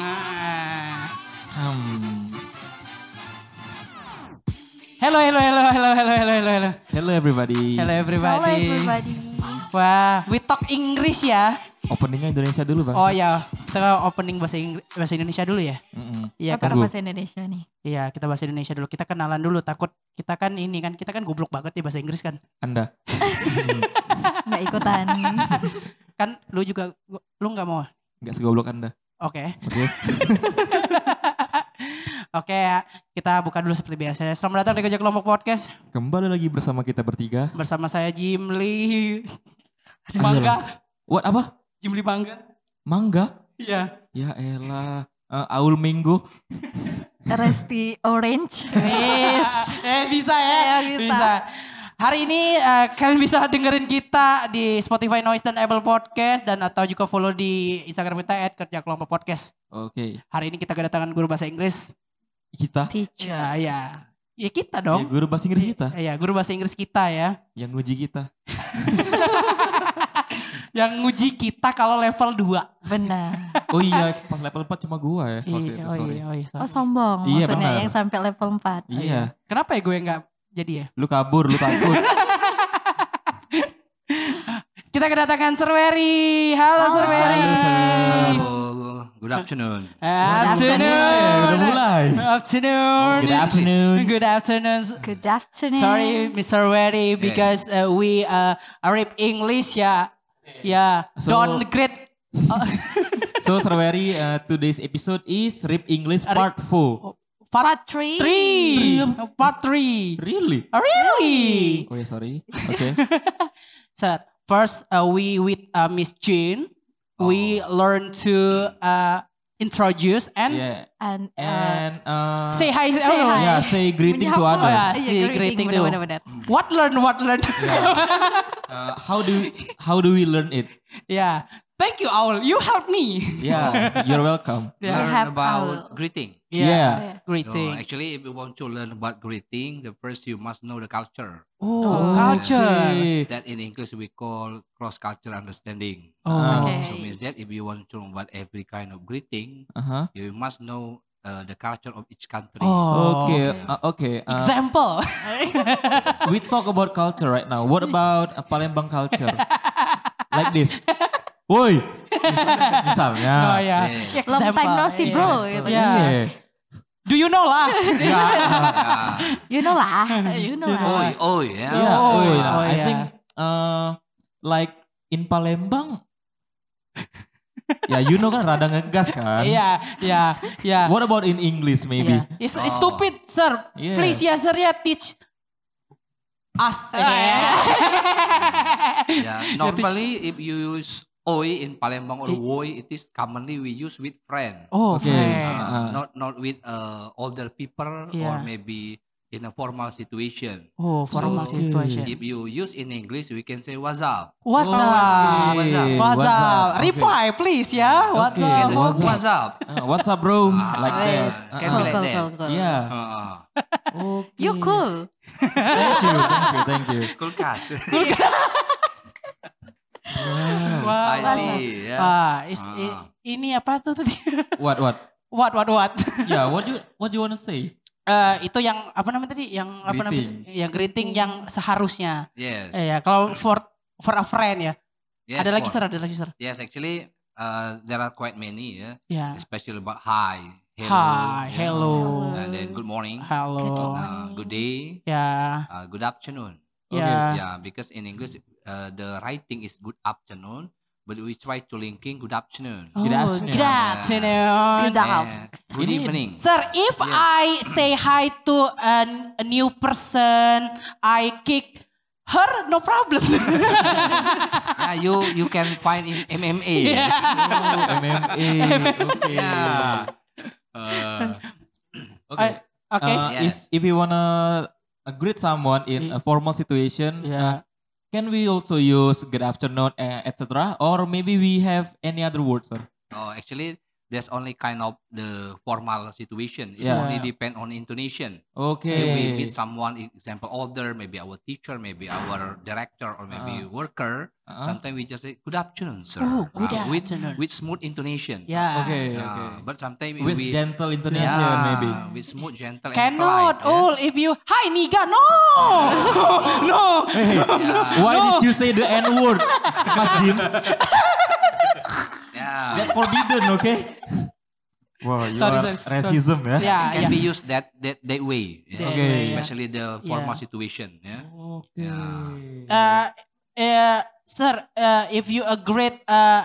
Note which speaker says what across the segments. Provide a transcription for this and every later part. Speaker 1: Ah. hello, hello, hello, hello, hello, hello, hello, hello.
Speaker 2: Hello everybody.
Speaker 1: Hello everybody.
Speaker 3: Hello everybody.
Speaker 1: Wah, we talk English ya.
Speaker 2: Openingnya Indonesia dulu bang.
Speaker 1: Oh ya, kita opening bahasa Inggris, bahasa Indonesia dulu ya.
Speaker 2: Mm-mm.
Speaker 1: Iya,
Speaker 3: Apa
Speaker 1: karena
Speaker 2: Tunggu.
Speaker 3: bahasa Indonesia nih?
Speaker 1: iya kita bahasa Indonesia dulu. Kita kenalan dulu. Takut kita kan ini kan kita kan goblok banget di bahasa Inggris kan.
Speaker 2: Anda.
Speaker 3: Nggak ikutan.
Speaker 1: Kan lu juga lu nggak mau.
Speaker 2: Gak segoblok Anda.
Speaker 1: Oke.
Speaker 2: Oke.
Speaker 1: Oke, ya. kita buka dulu seperti biasa. ya. Selamat datang di Kerja Kelompok Podcast
Speaker 2: Kembali lagi bersama kita bertiga.
Speaker 1: bersama saya Jimli.
Speaker 2: Aduh, iyalah.
Speaker 1: Mangga,
Speaker 2: What apa?
Speaker 1: Jimli Mangga.
Speaker 2: Mangga?
Speaker 1: Iya.
Speaker 2: Ya elah. Eh, Aul Minggu.
Speaker 3: Resti Orange.
Speaker 1: eh bisa ya,
Speaker 3: Iya, bisa.
Speaker 1: Hari ini eh, kalian bisa dengerin kita di Spotify Noise dan Apple Podcast dan atau juga follow di Instagram kita at kerja kelompok podcast.
Speaker 2: Oke.
Speaker 1: Hari ini kita kedatangan guru bahasa Inggris.
Speaker 2: Kita.
Speaker 3: Teacher.
Speaker 1: Ya, ya. Ya kita
Speaker 2: Ya,
Speaker 1: dong.
Speaker 2: guru bahasa Inggris kita.
Speaker 1: Iya, guru bahasa Inggris kita ya.
Speaker 2: Yang nguji kita.
Speaker 1: Yang nguji kita kalau level 2.
Speaker 3: Benar.
Speaker 2: Oh iya. Pas level 4 cuma gua ya. Waktu itu
Speaker 1: oh
Speaker 2: sorry.
Speaker 1: iya, oh iya. sorry.
Speaker 3: Oh sombong
Speaker 2: Iya,
Speaker 3: maksudnya
Speaker 2: benar.
Speaker 3: yang sampai level 4.
Speaker 2: Iya.
Speaker 1: Kenapa ya gue nggak jadi ya?
Speaker 2: Lu kabur. Lu takut.
Speaker 1: Kita kedatangan Serweri. Halo,
Speaker 3: Halo,
Speaker 1: Serweri.
Speaker 2: Halo Sar.
Speaker 4: Hello, good
Speaker 1: Uh,
Speaker 4: afternoon.
Speaker 2: Ya, udah
Speaker 1: Afternoon.
Speaker 2: mulai.
Speaker 1: Afternoon.
Speaker 2: Good afternoon.
Speaker 1: Good afternoon.
Speaker 3: Good afternoon.
Speaker 1: Sorry, Mr. Wary, because uh, we uh, are English, ya. Yeah.
Speaker 2: So-
Speaker 1: Don't great.
Speaker 2: So Sarwari, eh, today's episode is Rip English Part 4.
Speaker 1: Part
Speaker 3: Part 3.
Speaker 1: 3. Part 3.
Speaker 2: Really?
Speaker 1: Really?
Speaker 2: Oh ya sorry. Oke.
Speaker 1: So, first, uh, we with uh, Miss Jean,
Speaker 2: Oh.
Speaker 1: we learn to uh, introduce and
Speaker 2: Yeah.
Speaker 3: And, uh,
Speaker 2: And uh,
Speaker 1: say hi.
Speaker 3: say hi.
Speaker 2: Yeah, say greeting to
Speaker 3: Menjawab.
Speaker 2: others.
Speaker 3: Iya,
Speaker 1: Say greeting
Speaker 3: greeting,
Speaker 1: to-
Speaker 3: benar-benar.
Speaker 1: What learn? What learn?
Speaker 2: Uh, how do how do we learn it?
Speaker 1: yeah. Thank you, Owl. You help me.
Speaker 2: Yeah, you're welcome.
Speaker 1: Yeah. uh,
Speaker 4: Learn
Speaker 3: Have
Speaker 4: about
Speaker 3: our-
Speaker 4: greeting.
Speaker 2: Yeah.
Speaker 3: Yeah.
Speaker 4: So
Speaker 1: Greeting.
Speaker 4: actually, if you want to learn about greeting, the first you must know the culture.
Speaker 1: Oh, culture.
Speaker 2: Okay.
Speaker 4: That in English we call cross culture understanding. Ah,
Speaker 1: Oh.
Speaker 3: Okay.
Speaker 4: So means that if you want to know about every kind of greeting,
Speaker 2: Uh-huh.
Speaker 4: you must know uh, the culture of each country.
Speaker 1: Oh.
Speaker 2: Okay, uh, okay. uh,
Speaker 1: Example.
Speaker 2: we talk about culture right now. What about uh, Palembang culture? like this. Woi. Mis- Misalnya.
Speaker 1: Oh, yeah.
Speaker 2: Iya.
Speaker 4: Yes.
Speaker 3: Long time no see
Speaker 1: Example.
Speaker 3: bro. gitu.
Speaker 1: Yeah. Do you know lah?
Speaker 2: Yeah.
Speaker 4: Ah,
Speaker 3: You know lah. You know
Speaker 4: oi,
Speaker 3: lah.
Speaker 4: oi, yeah.
Speaker 2: Yeah,
Speaker 1: Oh,
Speaker 2: oh, yeah.
Speaker 1: oh,
Speaker 2: I
Speaker 1: yeah.
Speaker 2: think uh, like in Palembang. ya, you know kan rada ngegas kan?
Speaker 1: Iya, iya, iya.
Speaker 2: What about in English maybe?
Speaker 1: Yeah. It's, it's
Speaker 4: Oh.
Speaker 1: stupid, sir.
Speaker 2: Yeah.
Speaker 1: Please, ya sir, ya teach us.
Speaker 4: Yeah. Normally, if you use oi in Palembang or woi, it is commonly we use with friend.
Speaker 1: Oh,
Speaker 2: Okay.
Speaker 1: friend.
Speaker 2: Uh,
Speaker 4: Kan? not not with uh, older people or
Speaker 1: Yeah.
Speaker 4: maybe in a formal situation.
Speaker 1: Oh, formal
Speaker 4: So,
Speaker 1: situation.
Speaker 4: If you use in English, we can say what's up.
Speaker 1: What's
Speaker 2: Oh,
Speaker 1: up?
Speaker 2: what's up?
Speaker 1: What's
Speaker 2: What's up?
Speaker 1: up?
Speaker 2: Okay.
Speaker 1: Reply, please, ya. What's
Speaker 2: Okay,
Speaker 1: up?
Speaker 4: Together,
Speaker 2: what's up?
Speaker 4: what's up?
Speaker 2: Uh, what's up bro?
Speaker 4: Ah,
Speaker 2: like this.
Speaker 4: yes.
Speaker 2: Uh,
Speaker 4: Can
Speaker 3: Cool,
Speaker 4: be like
Speaker 3: cool,
Speaker 4: that.
Speaker 3: cool, cool.
Speaker 2: yeah.
Speaker 4: Uh,
Speaker 2: Okay.
Speaker 3: You cool.
Speaker 2: Thank you, thank you, thank you.
Speaker 4: kulkas.
Speaker 2: Wow.
Speaker 4: I
Speaker 1: Wow.
Speaker 4: see. Yeah.
Speaker 1: Ah, is- i-
Speaker 4: Ah.
Speaker 1: ini apa tuh tadi?
Speaker 2: What what?
Speaker 1: what, what, what?
Speaker 2: Yeah, what you what you wanna say?
Speaker 1: Eh, itu yang apa namanya tadi? Yang apa namanya?
Speaker 2: Greeting.
Speaker 1: Yang greeting yang seharusnya.
Speaker 4: Yes.
Speaker 1: Eh, ya, kalau for for a friend ya.
Speaker 4: yes.
Speaker 1: ada lagi
Speaker 4: for-
Speaker 1: sir, ada lagi sir.
Speaker 4: Yes, actually, uh, there are quite many. Yeah.
Speaker 1: Ya.
Speaker 4: Especially about hi, hello,
Speaker 1: Hi,
Speaker 4: yeah.
Speaker 1: hello.
Speaker 4: and then good morning,
Speaker 1: Halo.
Speaker 4: uh, good day,
Speaker 1: Ya.
Speaker 4: uh, good afternoon.
Speaker 1: Ya.
Speaker 4: Yeah, because in English uh, the writing is good afternoon, but we try to linking good afternoon.
Speaker 1: Oh,
Speaker 2: Good afternoon.
Speaker 1: Good afternoon.
Speaker 3: Good
Speaker 4: Yeah. Eh, Good
Speaker 2: Ini-
Speaker 4: evening.
Speaker 1: Sir, if I say hi to an- a new person, I kick her, no problem.
Speaker 4: Yeah, Ah, you you can find in MMA.
Speaker 2: Oh, MMA. Okay.
Speaker 4: Yeah. Uh,
Speaker 2: Okay.
Speaker 1: I- Oke.
Speaker 2: Uh,
Speaker 4: Yes.
Speaker 2: If if you wanna uh, greet someone in a formal situation, uh,
Speaker 1: Ya.
Speaker 2: can we also uh, use good afternoon, etc. Or maybe we have any other words, sir?
Speaker 4: oh, actually That's only kind of the formal situation. It's
Speaker 2: Yeah.
Speaker 4: only depend on Indonesian. If we
Speaker 2: Okay.
Speaker 4: meet someone, example older, maybe our teacher, maybe our director, or maybe worker.
Speaker 2: Uh-huh.
Speaker 4: Sometimes we just say good afternoon, sir.
Speaker 1: Oh, good
Speaker 4: Uh, with,
Speaker 1: afternoon.
Speaker 4: with smooth Indonesian.
Speaker 1: Yeah.
Speaker 2: Okay,
Speaker 4: Uh,
Speaker 2: okay.
Speaker 4: But sometimes
Speaker 2: With
Speaker 4: we
Speaker 2: gentle
Speaker 4: Yeah,
Speaker 2: Indonesian maybe. oh,
Speaker 4: with smooth, gentle, and
Speaker 1: Cannot.
Speaker 4: polite,
Speaker 1: all if you hi niga no. no.
Speaker 2: Hey, why did you say the N word, Mas Jim?
Speaker 4: Yeah. Yeah.
Speaker 2: That's forbidden, okay?
Speaker 5: Wow, you
Speaker 1: Sorry,
Speaker 5: are
Speaker 1: sorry, sorry.
Speaker 5: racism ya.
Speaker 1: Ya,
Speaker 4: It can
Speaker 1: ya.
Speaker 4: be used that that that way. Yeah.
Speaker 1: That
Speaker 2: Okay. way, yeah.
Speaker 4: Especially the formal
Speaker 1: Yeah.
Speaker 4: situation. Yeah.
Speaker 2: Okay.
Speaker 1: Uh, eh, sir, eh, if you agree eh,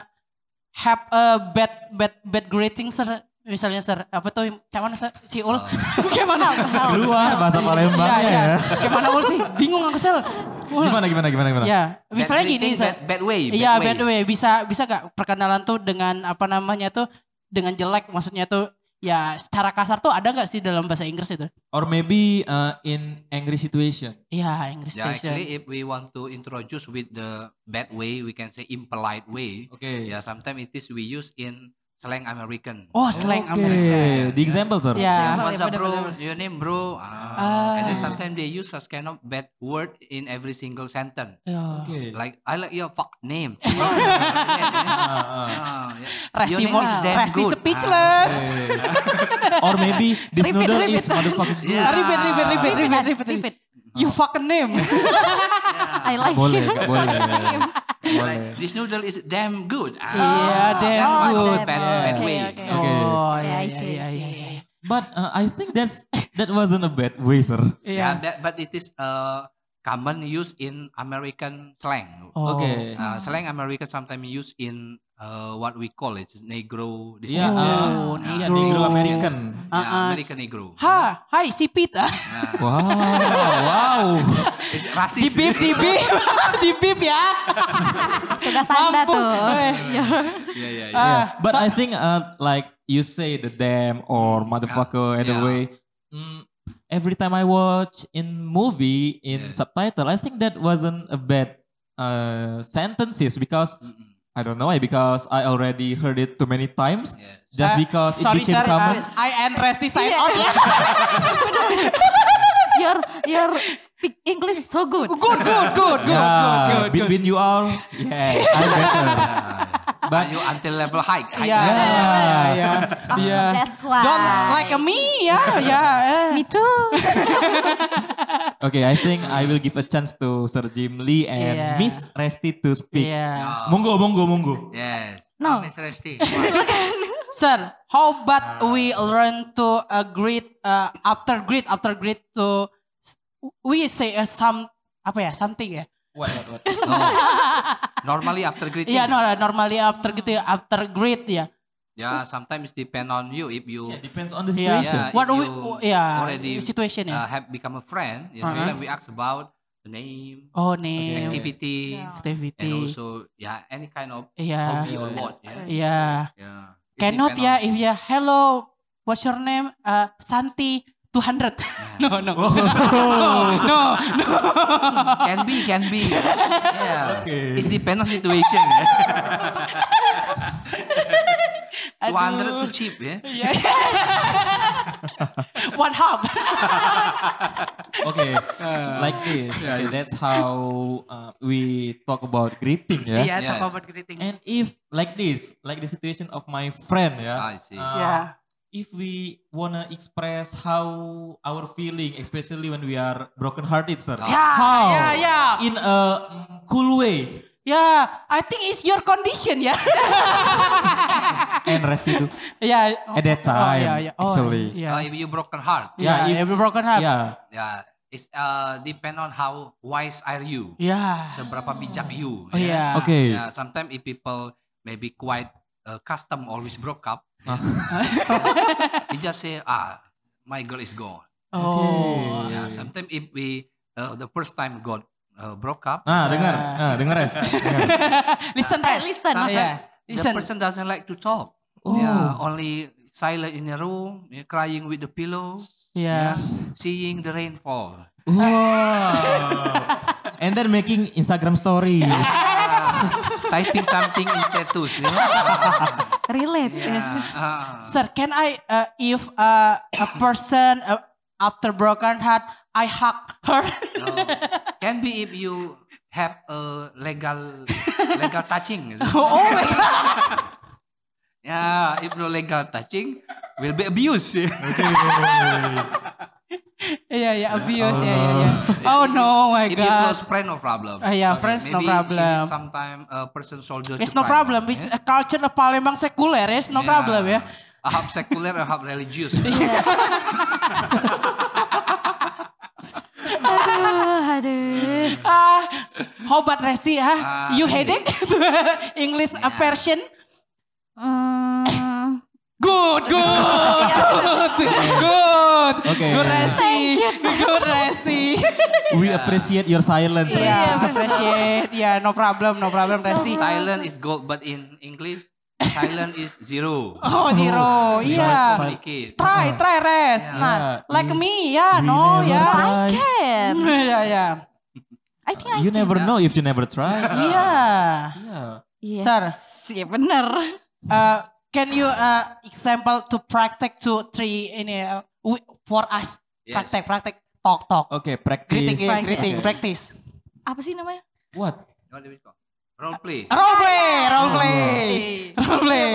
Speaker 1: have a bad bad bad greeting sir. Misalnya sir, apa tuh cuman sir, si Ul?
Speaker 4: Ah.
Speaker 1: Gimana?
Speaker 2: Keluar bahasa Palembang
Speaker 1: Iya, iya.
Speaker 2: ya.
Speaker 1: Gimana Ul sih? Bingung aku sel. Ul.
Speaker 2: Gimana gimana gimana gimana?
Speaker 1: Ya,
Speaker 4: Bad
Speaker 1: misalnya gini
Speaker 4: greeting,
Speaker 1: sir.
Speaker 4: Bad, bad way.
Speaker 1: Iya, bad way. Bisa bisa gak perkenalan tuh dengan apa namanya tuh dengan jelek maksudnya tuh ya secara kasar tuh ada nggak sih dalam bahasa Inggris itu?
Speaker 2: Or maybe uh, in angry situation.
Speaker 1: Iya, English
Speaker 4: Yeah,
Speaker 1: station.
Speaker 4: Ya, actually, if we want to introduce with the bad way, we can say impolite way.
Speaker 2: Okay.
Speaker 4: Yeah, sometimes it is we use in slang American.
Speaker 1: oh, slang
Speaker 2: okay.
Speaker 1: Amerika.
Speaker 2: The example, sir.
Speaker 1: Ya.
Speaker 4: Yeah,
Speaker 3: Boleh,
Speaker 4: what's up,
Speaker 3: boleh,
Speaker 4: bro?
Speaker 3: boleh.
Speaker 4: Your name, bro. Ah,
Speaker 1: Ah.
Speaker 4: And then sometimes they use such kind of bad word in every single sentence.
Speaker 1: Yo.
Speaker 2: Okay.
Speaker 4: Like I like your fuck name.
Speaker 2: Uh, uh.
Speaker 4: Ah, yeah.
Speaker 1: Resti
Speaker 4: Your name
Speaker 1: mo-
Speaker 4: is damn
Speaker 1: Resti
Speaker 4: good. Ah,
Speaker 1: speechless.
Speaker 2: Eh. Or maybe this
Speaker 3: Repeat,
Speaker 2: noodle
Speaker 3: repeat.
Speaker 2: is motherfucking good.
Speaker 4: Yeah.
Speaker 1: Iya, Ribet, Ah. ribet, ribet, ribet, ribet, ribet.
Speaker 3: Repeat.
Speaker 1: You fucking name. Oh,
Speaker 3: I like
Speaker 2: Boleh,
Speaker 3: it.
Speaker 2: gak boleh.
Speaker 4: Like, this noodle is damn good. Ah,
Speaker 1: Iya, damn
Speaker 4: that's one of the
Speaker 1: good.
Speaker 4: bad,
Speaker 2: Oh,
Speaker 4: bad
Speaker 3: okay,
Speaker 4: way.
Speaker 3: okay.
Speaker 2: Okay.
Speaker 1: Oh,
Speaker 3: Yeah,
Speaker 1: iya,
Speaker 3: I
Speaker 1: iya,
Speaker 3: see,
Speaker 1: iya,
Speaker 3: I
Speaker 1: iya,
Speaker 3: see.
Speaker 1: iya.
Speaker 2: But uh, I think that's that wasn't a bad way, sir.
Speaker 1: Iya.
Speaker 4: Yeah, that- but it is uh, common use in American slang.
Speaker 1: Oh.
Speaker 2: Okay.
Speaker 4: Uh, slang American sometimes used in uh, what we call it is Negro. This
Speaker 2: Yeah,
Speaker 1: Oh,
Speaker 2: uh,
Speaker 1: Negro.
Speaker 2: yeah, Negro American.
Speaker 1: uh-uh.
Speaker 4: American Negro.
Speaker 1: Ha, hai si Ah, Pita.
Speaker 2: Wow, wow.
Speaker 4: It's
Speaker 1: Di
Speaker 4: racist.
Speaker 1: bip, di bip, di bip ya.
Speaker 3: Tugas anda
Speaker 1: Mampu. Eh,
Speaker 3: tuh.
Speaker 4: yeah, yeah, yeah.
Speaker 1: ah,
Speaker 2: Iya. But
Speaker 1: so-
Speaker 2: I think uh, like you say the damn or motherfucker either
Speaker 4: Yeah.
Speaker 2: way. Mm, every time I watch in movie in
Speaker 4: Yeah.
Speaker 2: subtitle, I think that wasn't a bad uh, sentences because
Speaker 4: Mm-mm.
Speaker 2: I don't know why because I already heard it too many times.
Speaker 4: Yeah.
Speaker 2: Just
Speaker 1: Eh,
Speaker 2: because
Speaker 1: sorry,
Speaker 2: it became
Speaker 1: sorry,
Speaker 2: common.
Speaker 1: uh, I and Resti sign
Speaker 3: Iya.
Speaker 1: out ya.
Speaker 3: Your your speak English so good.
Speaker 1: Good, good, good, good, good,
Speaker 2: yeah,
Speaker 1: good, good.
Speaker 2: between you all, yeah, I'm better.
Speaker 4: But
Speaker 2: But
Speaker 4: you until level high. high
Speaker 1: Iya,
Speaker 4: level.
Speaker 1: iya, iya, iya.
Speaker 3: That's why.
Speaker 1: Don't like me ya, ya. eh.
Speaker 3: Me too.
Speaker 2: okay, I think I will give a chance to Sir Jim Lee and
Speaker 1: Yeah.
Speaker 2: Miss Resti to speak.
Speaker 1: Iya.
Speaker 4: Oh,
Speaker 2: Monggo, monggo, monggo.
Speaker 4: Yes.
Speaker 3: No.
Speaker 4: Ah, Miss Resti.
Speaker 1: Sir, how about we learn to uh, greet uh, after greet after greet to we say uh, some apa ya something ya?
Speaker 2: What, what, what?
Speaker 4: No. Normally after greeting. ya?
Speaker 1: Iya, no, normally after gitu ya, after greet ya.
Speaker 4: Yeah, sometimes depend on you if you
Speaker 2: Yeah, depends on the
Speaker 1: Iya.
Speaker 2: situation.
Speaker 4: Yeah,
Speaker 1: What
Speaker 4: if
Speaker 1: we
Speaker 4: you
Speaker 1: ya
Speaker 4: already,
Speaker 1: situation ya.
Speaker 4: uh, have become a friend. Yeah,
Speaker 1: Uh-huh.
Speaker 4: sometimes we ask about the name,
Speaker 1: oh, name,
Speaker 4: activity,
Speaker 3: Yeah.
Speaker 1: activity.
Speaker 4: and also yeah, any kind of
Speaker 1: Iya.
Speaker 4: hobby or what. Yeah.
Speaker 1: Iya.
Speaker 4: yeah. It
Speaker 1: Cannot
Speaker 4: depend
Speaker 1: ya
Speaker 4: on-
Speaker 1: if ya hello, what's your name? Uh, Santi 200. no, no.
Speaker 4: Oh.
Speaker 1: no, no.
Speaker 4: Can be, can be. yeah.
Speaker 2: Okay.
Speaker 4: It's depend on situation. ya. Yeah. 200 too cheap, ya. yeah.
Speaker 1: Yeah. One hub.
Speaker 2: Okay, like this. Okay, that's how uh, we talk about greeting, yeah.
Speaker 1: Iya,
Speaker 4: Yes.
Speaker 1: talk about greeting.
Speaker 2: And if like this, like the situation of my friend, yeah.
Speaker 4: I see.
Speaker 2: uh,
Speaker 1: Yeah.
Speaker 2: if we wanna express how our feeling, especially when we are broken-hearted, sir.
Speaker 1: Yeah,
Speaker 2: how?
Speaker 1: yeah, yeah.
Speaker 2: In a mm, cool way.
Speaker 1: Yeah, Ya, I think it's your condition ya.
Speaker 2: And rest itu.
Speaker 1: Yeah.
Speaker 2: At that
Speaker 1: Oh, iya,
Speaker 2: time, actually.
Speaker 4: Uh,
Speaker 1: Yeah.
Speaker 4: if you broken heart,
Speaker 1: iya. Yeah, Ya,
Speaker 2: Yeah, if-
Speaker 1: if ya. you broken up. Yeah.
Speaker 2: Yeah.
Speaker 4: yeah, it's uh depend on how wise are you. Seberapa bijak you.
Speaker 1: Ya. Oh,
Speaker 4: ya.
Speaker 1: yeah.
Speaker 2: Okay.
Speaker 4: Yeah, sometimes if people maybe quite uh, custom always broke up, you just say, ah, my girl is gone.
Speaker 1: Oh.
Speaker 4: Yeah, sometimes if we uh, the first time God uh, broke up,
Speaker 2: Nah, dengar. Nah, dengar res. Dengar.
Speaker 1: listen,
Speaker 3: Eh,
Speaker 1: Res.
Speaker 3: listen.
Speaker 1: Oh, yeah.
Speaker 4: the
Speaker 1: Listen. Oh.
Speaker 4: person doesn't like to talk. Yeah, only silent in a room, yeah, crying with the pillow,
Speaker 1: Yeah.
Speaker 4: seeing the rainfall.
Speaker 1: Iya.
Speaker 2: Wow. And then making Instagram stories.
Speaker 4: typing something in status. You know?
Speaker 3: Relate.
Speaker 4: Yeah. ah.
Speaker 1: Sir, can I uh, if uh, a person uh, after broken heart I hug her?
Speaker 4: No. Can be if you have a legal legal touching. gitu.
Speaker 1: oh my god.
Speaker 4: Yeah, if no legal touching will be abuse.
Speaker 1: Oh Yeah, yeah, Iya, abuse. Yeah, yeah, yeah. Oh no, my
Speaker 4: If it was
Speaker 1: god.
Speaker 4: friend, no problem.
Speaker 1: Ah, yeah, friends, no
Speaker 4: maybe she
Speaker 1: problem.
Speaker 4: need sometime a person soldier.
Speaker 1: It's
Speaker 4: to
Speaker 1: no
Speaker 4: try
Speaker 1: problem.
Speaker 4: out,
Speaker 1: It's
Speaker 4: yeah.
Speaker 1: a culture of Palembang sekuler. It's no
Speaker 4: Yeah.
Speaker 1: problem ya.
Speaker 4: A half secular, a half religious.
Speaker 3: Aduh, aduh.
Speaker 1: Ah, how about Resti? Huh?
Speaker 4: Ah,
Speaker 1: you headache? English
Speaker 2: Iya.
Speaker 1: uh, version?
Speaker 3: Hmm.
Speaker 1: Good, good, good, good.
Speaker 2: Okay.
Speaker 1: Good Resti.
Speaker 3: Thank you, sir.
Speaker 1: Good Resti.
Speaker 2: We appreciate your silence.
Speaker 1: Ya,
Speaker 2: Res.
Speaker 1: appreciate. Ya, no problem, no problem Resti.
Speaker 4: silent is gold, but in English, silent is zero.
Speaker 1: Oh, zero.
Speaker 4: You
Speaker 1: Iya.
Speaker 4: must
Speaker 2: Yeah.
Speaker 4: communicate.
Speaker 1: Try, try Res. Nah,
Speaker 2: Yeah.
Speaker 1: like me, ya,
Speaker 2: We
Speaker 1: no,
Speaker 2: never
Speaker 1: ya.
Speaker 2: try.
Speaker 3: Ken,
Speaker 1: Ya, ya.
Speaker 3: I think I
Speaker 2: You never know if you never try.
Speaker 1: Iya.
Speaker 2: yeah.
Speaker 3: Yes.
Speaker 1: Sir.
Speaker 3: Iya bener.
Speaker 1: Uh, can you uh, example to practice to three ini uh, we- for us
Speaker 4: Yes. Oh,
Speaker 1: praktek praktek talk talk
Speaker 2: Oke,
Speaker 1: greeting
Speaker 2: practice.
Speaker 1: greeting, greeting
Speaker 2: Okay.
Speaker 1: practice
Speaker 3: Apa sih namanya?
Speaker 2: What?
Speaker 4: What do we call? Role play.
Speaker 1: role play role
Speaker 4: Oh,
Speaker 1: play role play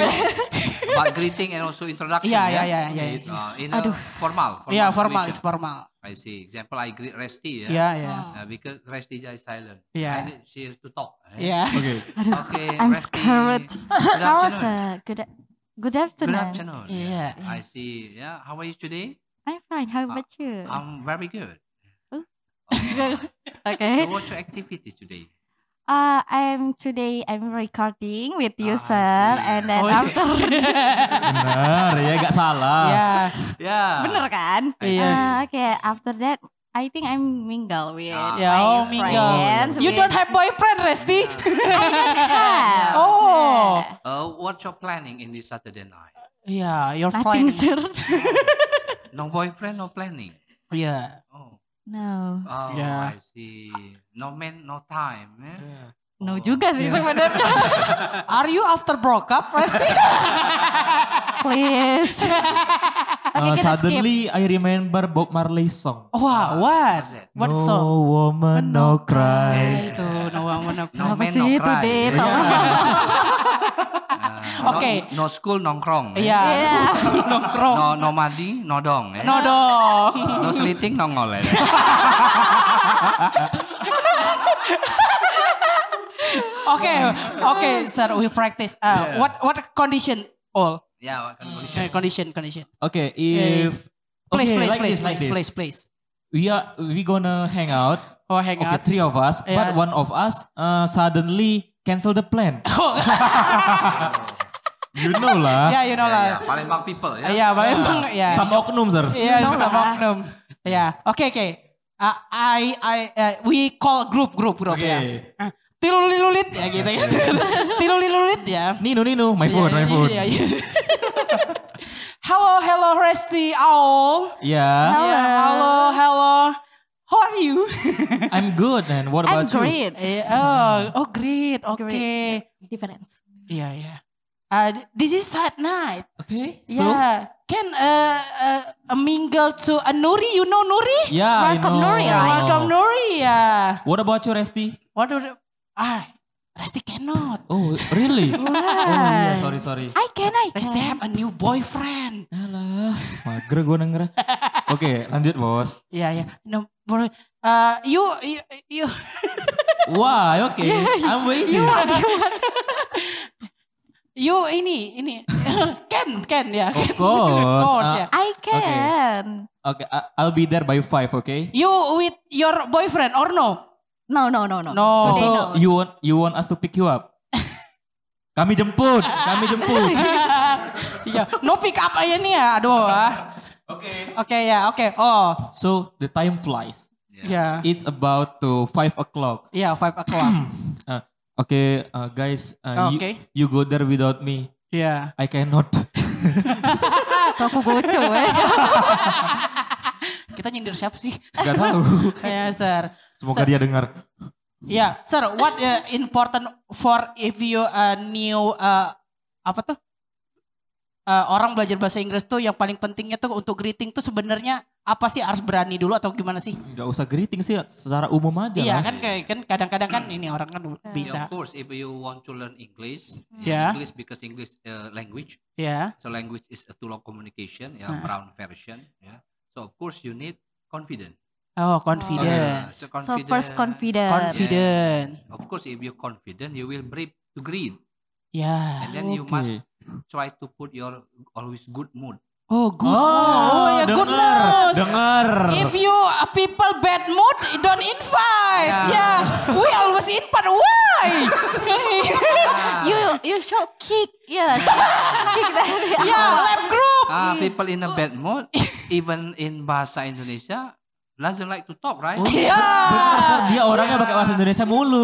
Speaker 4: But greeting and also introduction.
Speaker 1: Yeah,
Speaker 4: ya?
Speaker 1: yeah, yeah, yeah.
Speaker 4: It, uh, in a formal.
Speaker 1: ya formal is
Speaker 4: situation.
Speaker 1: formal
Speaker 4: I see. Example, I greet Resti. Yeah.
Speaker 1: ya ya
Speaker 3: Oh.
Speaker 4: Uh, because Resti is silent.
Speaker 1: Yeah.
Speaker 4: I need- she has to talk. eh?
Speaker 1: ya
Speaker 2: Oke.
Speaker 3: Aduh,
Speaker 4: Okay,
Speaker 3: I'm
Speaker 4: Resti.
Speaker 3: scared.
Speaker 4: Good
Speaker 3: Halo,
Speaker 4: afternoon.
Speaker 3: sir. Good, good
Speaker 4: Good
Speaker 3: afternoon.
Speaker 4: afternoon.
Speaker 1: Yeah.
Speaker 4: I see. Yeah. How are you today?
Speaker 3: I'm fine. How about you?
Speaker 4: I'm very good.
Speaker 3: Oh.
Speaker 4: Okay.
Speaker 3: okay.
Speaker 4: so what's your activities today?
Speaker 3: Uh, I'm today. I'm recording with you,
Speaker 4: Ah, I
Speaker 3: sir.
Speaker 4: see.
Speaker 3: And then
Speaker 1: Oh, iya.
Speaker 3: after
Speaker 2: Benar ya, gak
Speaker 4: Ah.
Speaker 2: salah.
Speaker 1: ya
Speaker 4: Yeah.
Speaker 3: bener kan?
Speaker 4: I see.
Speaker 3: Uh, okay. After that, I think I'm mingle with
Speaker 4: Ah,
Speaker 1: ya oh
Speaker 4: Fine.
Speaker 1: my
Speaker 3: friends.
Speaker 1: god you
Speaker 3: with-
Speaker 1: don't have boyfriend Resti
Speaker 3: have.
Speaker 1: oh
Speaker 4: Uh, what's your planning in this Saturday night?
Speaker 1: ya your friend
Speaker 3: Nothing, sir.
Speaker 4: No boyfriend, no planning.
Speaker 1: ya
Speaker 4: Oh,
Speaker 3: No.
Speaker 4: oh
Speaker 1: Yeah.
Speaker 4: I see. No man, no time. eh?
Speaker 3: No juga sih sebenarnya.
Speaker 1: are you after broke up Resti
Speaker 3: Please.
Speaker 2: Uh,
Speaker 3: kita skip.
Speaker 2: suddenly I remember Bob Marley song.
Speaker 1: wow what
Speaker 4: What's that?
Speaker 1: what
Speaker 2: no
Speaker 1: song
Speaker 2: woman, no cry.
Speaker 1: itu no one wanna
Speaker 4: No
Speaker 3: Apa
Speaker 4: man,
Speaker 3: sih
Speaker 4: no
Speaker 3: itu,
Speaker 4: cry.
Speaker 3: Dit?
Speaker 4: Yeah. No-
Speaker 1: Okay.
Speaker 4: No, school, nongkrong. eh?
Speaker 1: Iya, nongkrong.
Speaker 4: No, no mandi, no dong. eh?
Speaker 1: No
Speaker 2: Nah.
Speaker 1: dong.
Speaker 4: No sleeting, no ngoleh.
Speaker 1: Oke,
Speaker 2: Oh,
Speaker 1: oke, sir, we practice. Uh, What what condition all?
Speaker 4: yeah, what condition?
Speaker 1: Uh, condition, condition.
Speaker 2: Okay, if
Speaker 1: Please,
Speaker 2: okay,
Speaker 1: please,
Speaker 2: like
Speaker 1: please,
Speaker 2: this,
Speaker 1: please,
Speaker 2: like this.
Speaker 1: please, please.
Speaker 2: We are we gonna hang out.
Speaker 1: Oh, hang
Speaker 2: okay,
Speaker 1: out.
Speaker 2: three of us,
Speaker 1: Yeah.
Speaker 2: but one of us uh, suddenly cancel the plan. you know lah.
Speaker 1: Oh. Ya, you know
Speaker 4: Yeah, yeah,
Speaker 1: lah.
Speaker 4: Palembang people. Yeah.
Speaker 1: Ya, memang ya.
Speaker 2: Sama oknum, sir.
Speaker 1: Ya,
Speaker 3: You know
Speaker 1: sama
Speaker 3: lah.
Speaker 1: oknum. Ya, oke, oke. Uh, I I uh, we call group group group
Speaker 2: Oke.
Speaker 1: ya. Uh, Tilulilulit ya gitu ya. Tilulilulit ya.
Speaker 2: Nino, Nino, my phone, my phone.
Speaker 1: Iya, iya. Hello, hello, Resti Owl.
Speaker 2: Yeah,
Speaker 3: Hello.
Speaker 1: Yeah, hello, hello. How are you?
Speaker 2: I'm good. And what
Speaker 3: I'm
Speaker 2: about you?
Speaker 3: great.
Speaker 1: Eh,
Speaker 2: Hmm.
Speaker 1: oh, oh great. Oke.
Speaker 3: Great. Difference.
Speaker 1: Iya, iya. Uh, this is sad night.
Speaker 2: Okay, so
Speaker 1: Yeah. Can uh, uh, a mingle to a Nuri? You know Nuri?
Speaker 2: yeah,
Speaker 3: Welcome,
Speaker 2: I know.
Speaker 3: Nuri, right?
Speaker 1: Welcome Nuri. Yeah.
Speaker 2: What about you, Resti?
Speaker 1: What do the- ah, Resti cannot.
Speaker 2: Oh, really? oh yeah, sorry, sorry.
Speaker 3: I can, I
Speaker 1: Resti
Speaker 3: can.
Speaker 1: have a new boyfriend.
Speaker 2: Alah, mager gue denger. Oke, lanjut bos.
Speaker 1: Iya, iya. No, bro. Uh, you, you, you.
Speaker 2: Wah, oke. I'm waiting.
Speaker 1: You ini ini Ken Ken ya.
Speaker 2: Of
Speaker 1: Ken.
Speaker 2: course.
Speaker 1: Of course,
Speaker 2: Ah.
Speaker 1: ya.
Speaker 3: I can.
Speaker 2: Oke, I- I'll be there by five, okay?
Speaker 1: You with your boyfriend or no?
Speaker 3: No, no, no, no.
Speaker 1: No.
Speaker 2: so you want you want us to pick you up? kami jemput, kami jemput.
Speaker 1: Iya, no pick up aja nih ya. Aduh. ah.
Speaker 2: Oke.
Speaker 1: Oke ya, oke. Oh.
Speaker 2: So the time flies.
Speaker 1: Ya.
Speaker 2: It's about to five o'clock.
Speaker 1: Iya, five o'clock.
Speaker 2: Ah, oke, ah, guys, ah, you-
Speaker 1: Oke.
Speaker 2: you, go there without me.
Speaker 1: Iya.
Speaker 2: I cannot.
Speaker 3: Toko goco ya.
Speaker 1: Kita nyindir siapa sih?
Speaker 2: Gak tahu.
Speaker 1: Kayak sir.
Speaker 2: Semoga dia dengar.
Speaker 1: Yeah, sir. What uh, important for if you uh, new uh, apa tuh Uh, orang belajar bahasa Inggris tuh yang paling pentingnya tuh untuk greeting tuh sebenarnya apa sih harus berani dulu atau gimana sih?
Speaker 2: Gak usah greeting sih secara umum aja
Speaker 1: Iya
Speaker 2: lah.
Speaker 1: kan kayak- kan kadang-kadang kan ini orang kan
Speaker 4: Yeah,
Speaker 1: bisa.
Speaker 4: of course, if you want to learn English,
Speaker 1: Yeah.
Speaker 4: English because English uh, language,
Speaker 1: Ya.
Speaker 4: so language is a tool of communication,
Speaker 1: Ah.
Speaker 4: yeah, brown version, yeah. So of course you need confident.
Speaker 1: Oh, confident.
Speaker 4: Yeah, so
Speaker 3: So first confident.
Speaker 1: Confident.
Speaker 4: Of course, if you're confident, you will breathe to greet,
Speaker 1: Ya.
Speaker 4: and then you
Speaker 2: Okay.
Speaker 4: must try to put your always good mood.
Speaker 1: Oh, good.
Speaker 2: Oh,
Speaker 1: Oh, ya good
Speaker 2: denger,
Speaker 1: news.
Speaker 2: denger.
Speaker 1: If you uh, people bad mood, don't invite.
Speaker 4: Yeah.
Speaker 1: Yeah, we always invite. Why?
Speaker 3: You you should kick. Yeah. kick that.
Speaker 1: yeah, lab group.
Speaker 4: Ah, people in a bad mood, even in bahasa Indonesia, doesn't like to talk, right?
Speaker 1: Iya.
Speaker 2: Bener,
Speaker 1: Yeah.
Speaker 2: Sar, dia orangnya pakai bahasa Indonesia mulu.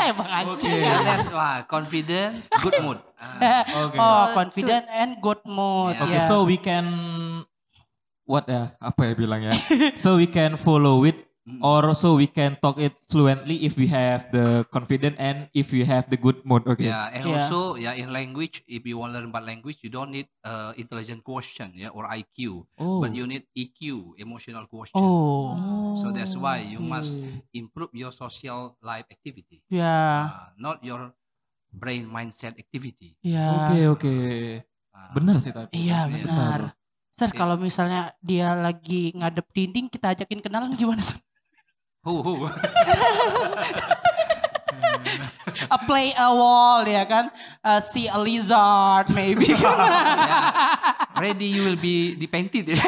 Speaker 1: Emang anjing.
Speaker 2: Oke.
Speaker 4: Yeah, that's why confident, good mood. Ah.
Speaker 2: Oke.
Speaker 1: Oh,
Speaker 3: So-
Speaker 1: confident and good mood.
Speaker 4: Yeah.
Speaker 2: Oke,
Speaker 1: Yeah.
Speaker 2: so we can what ya? Apa ya bilangnya? so we can follow it
Speaker 4: mm,
Speaker 2: or so we can talk it fluently if we have the confident and if we have the good mood. Oke.
Speaker 4: Yeah, and
Speaker 1: Yeah.
Speaker 4: also yeah, in language, if you want to learn about language, you don't need uh, intelligent quotient, yeah, or IQ,
Speaker 2: Oh.
Speaker 4: but you need EQ, emotional quotient.
Speaker 1: Oh,
Speaker 4: So that's why
Speaker 2: Oh,
Speaker 4: you must improve your social life activity,
Speaker 1: yeah,
Speaker 4: uh, not your brain mindset activity.
Speaker 1: yeah.
Speaker 2: Oke, oke.
Speaker 4: Uh,
Speaker 2: Benar sih tapi.
Speaker 1: Iya
Speaker 4: Iya.
Speaker 1: benar. Sir
Speaker 4: Iya.
Speaker 1: kalau misalnya dia lagi ngadep dinding kita ajakin kenalan gimana sir?
Speaker 4: who- who?
Speaker 1: A play a wall ya kan? Uh, see a lizard maybe.
Speaker 4: Yeah. Ready, you will be depainted.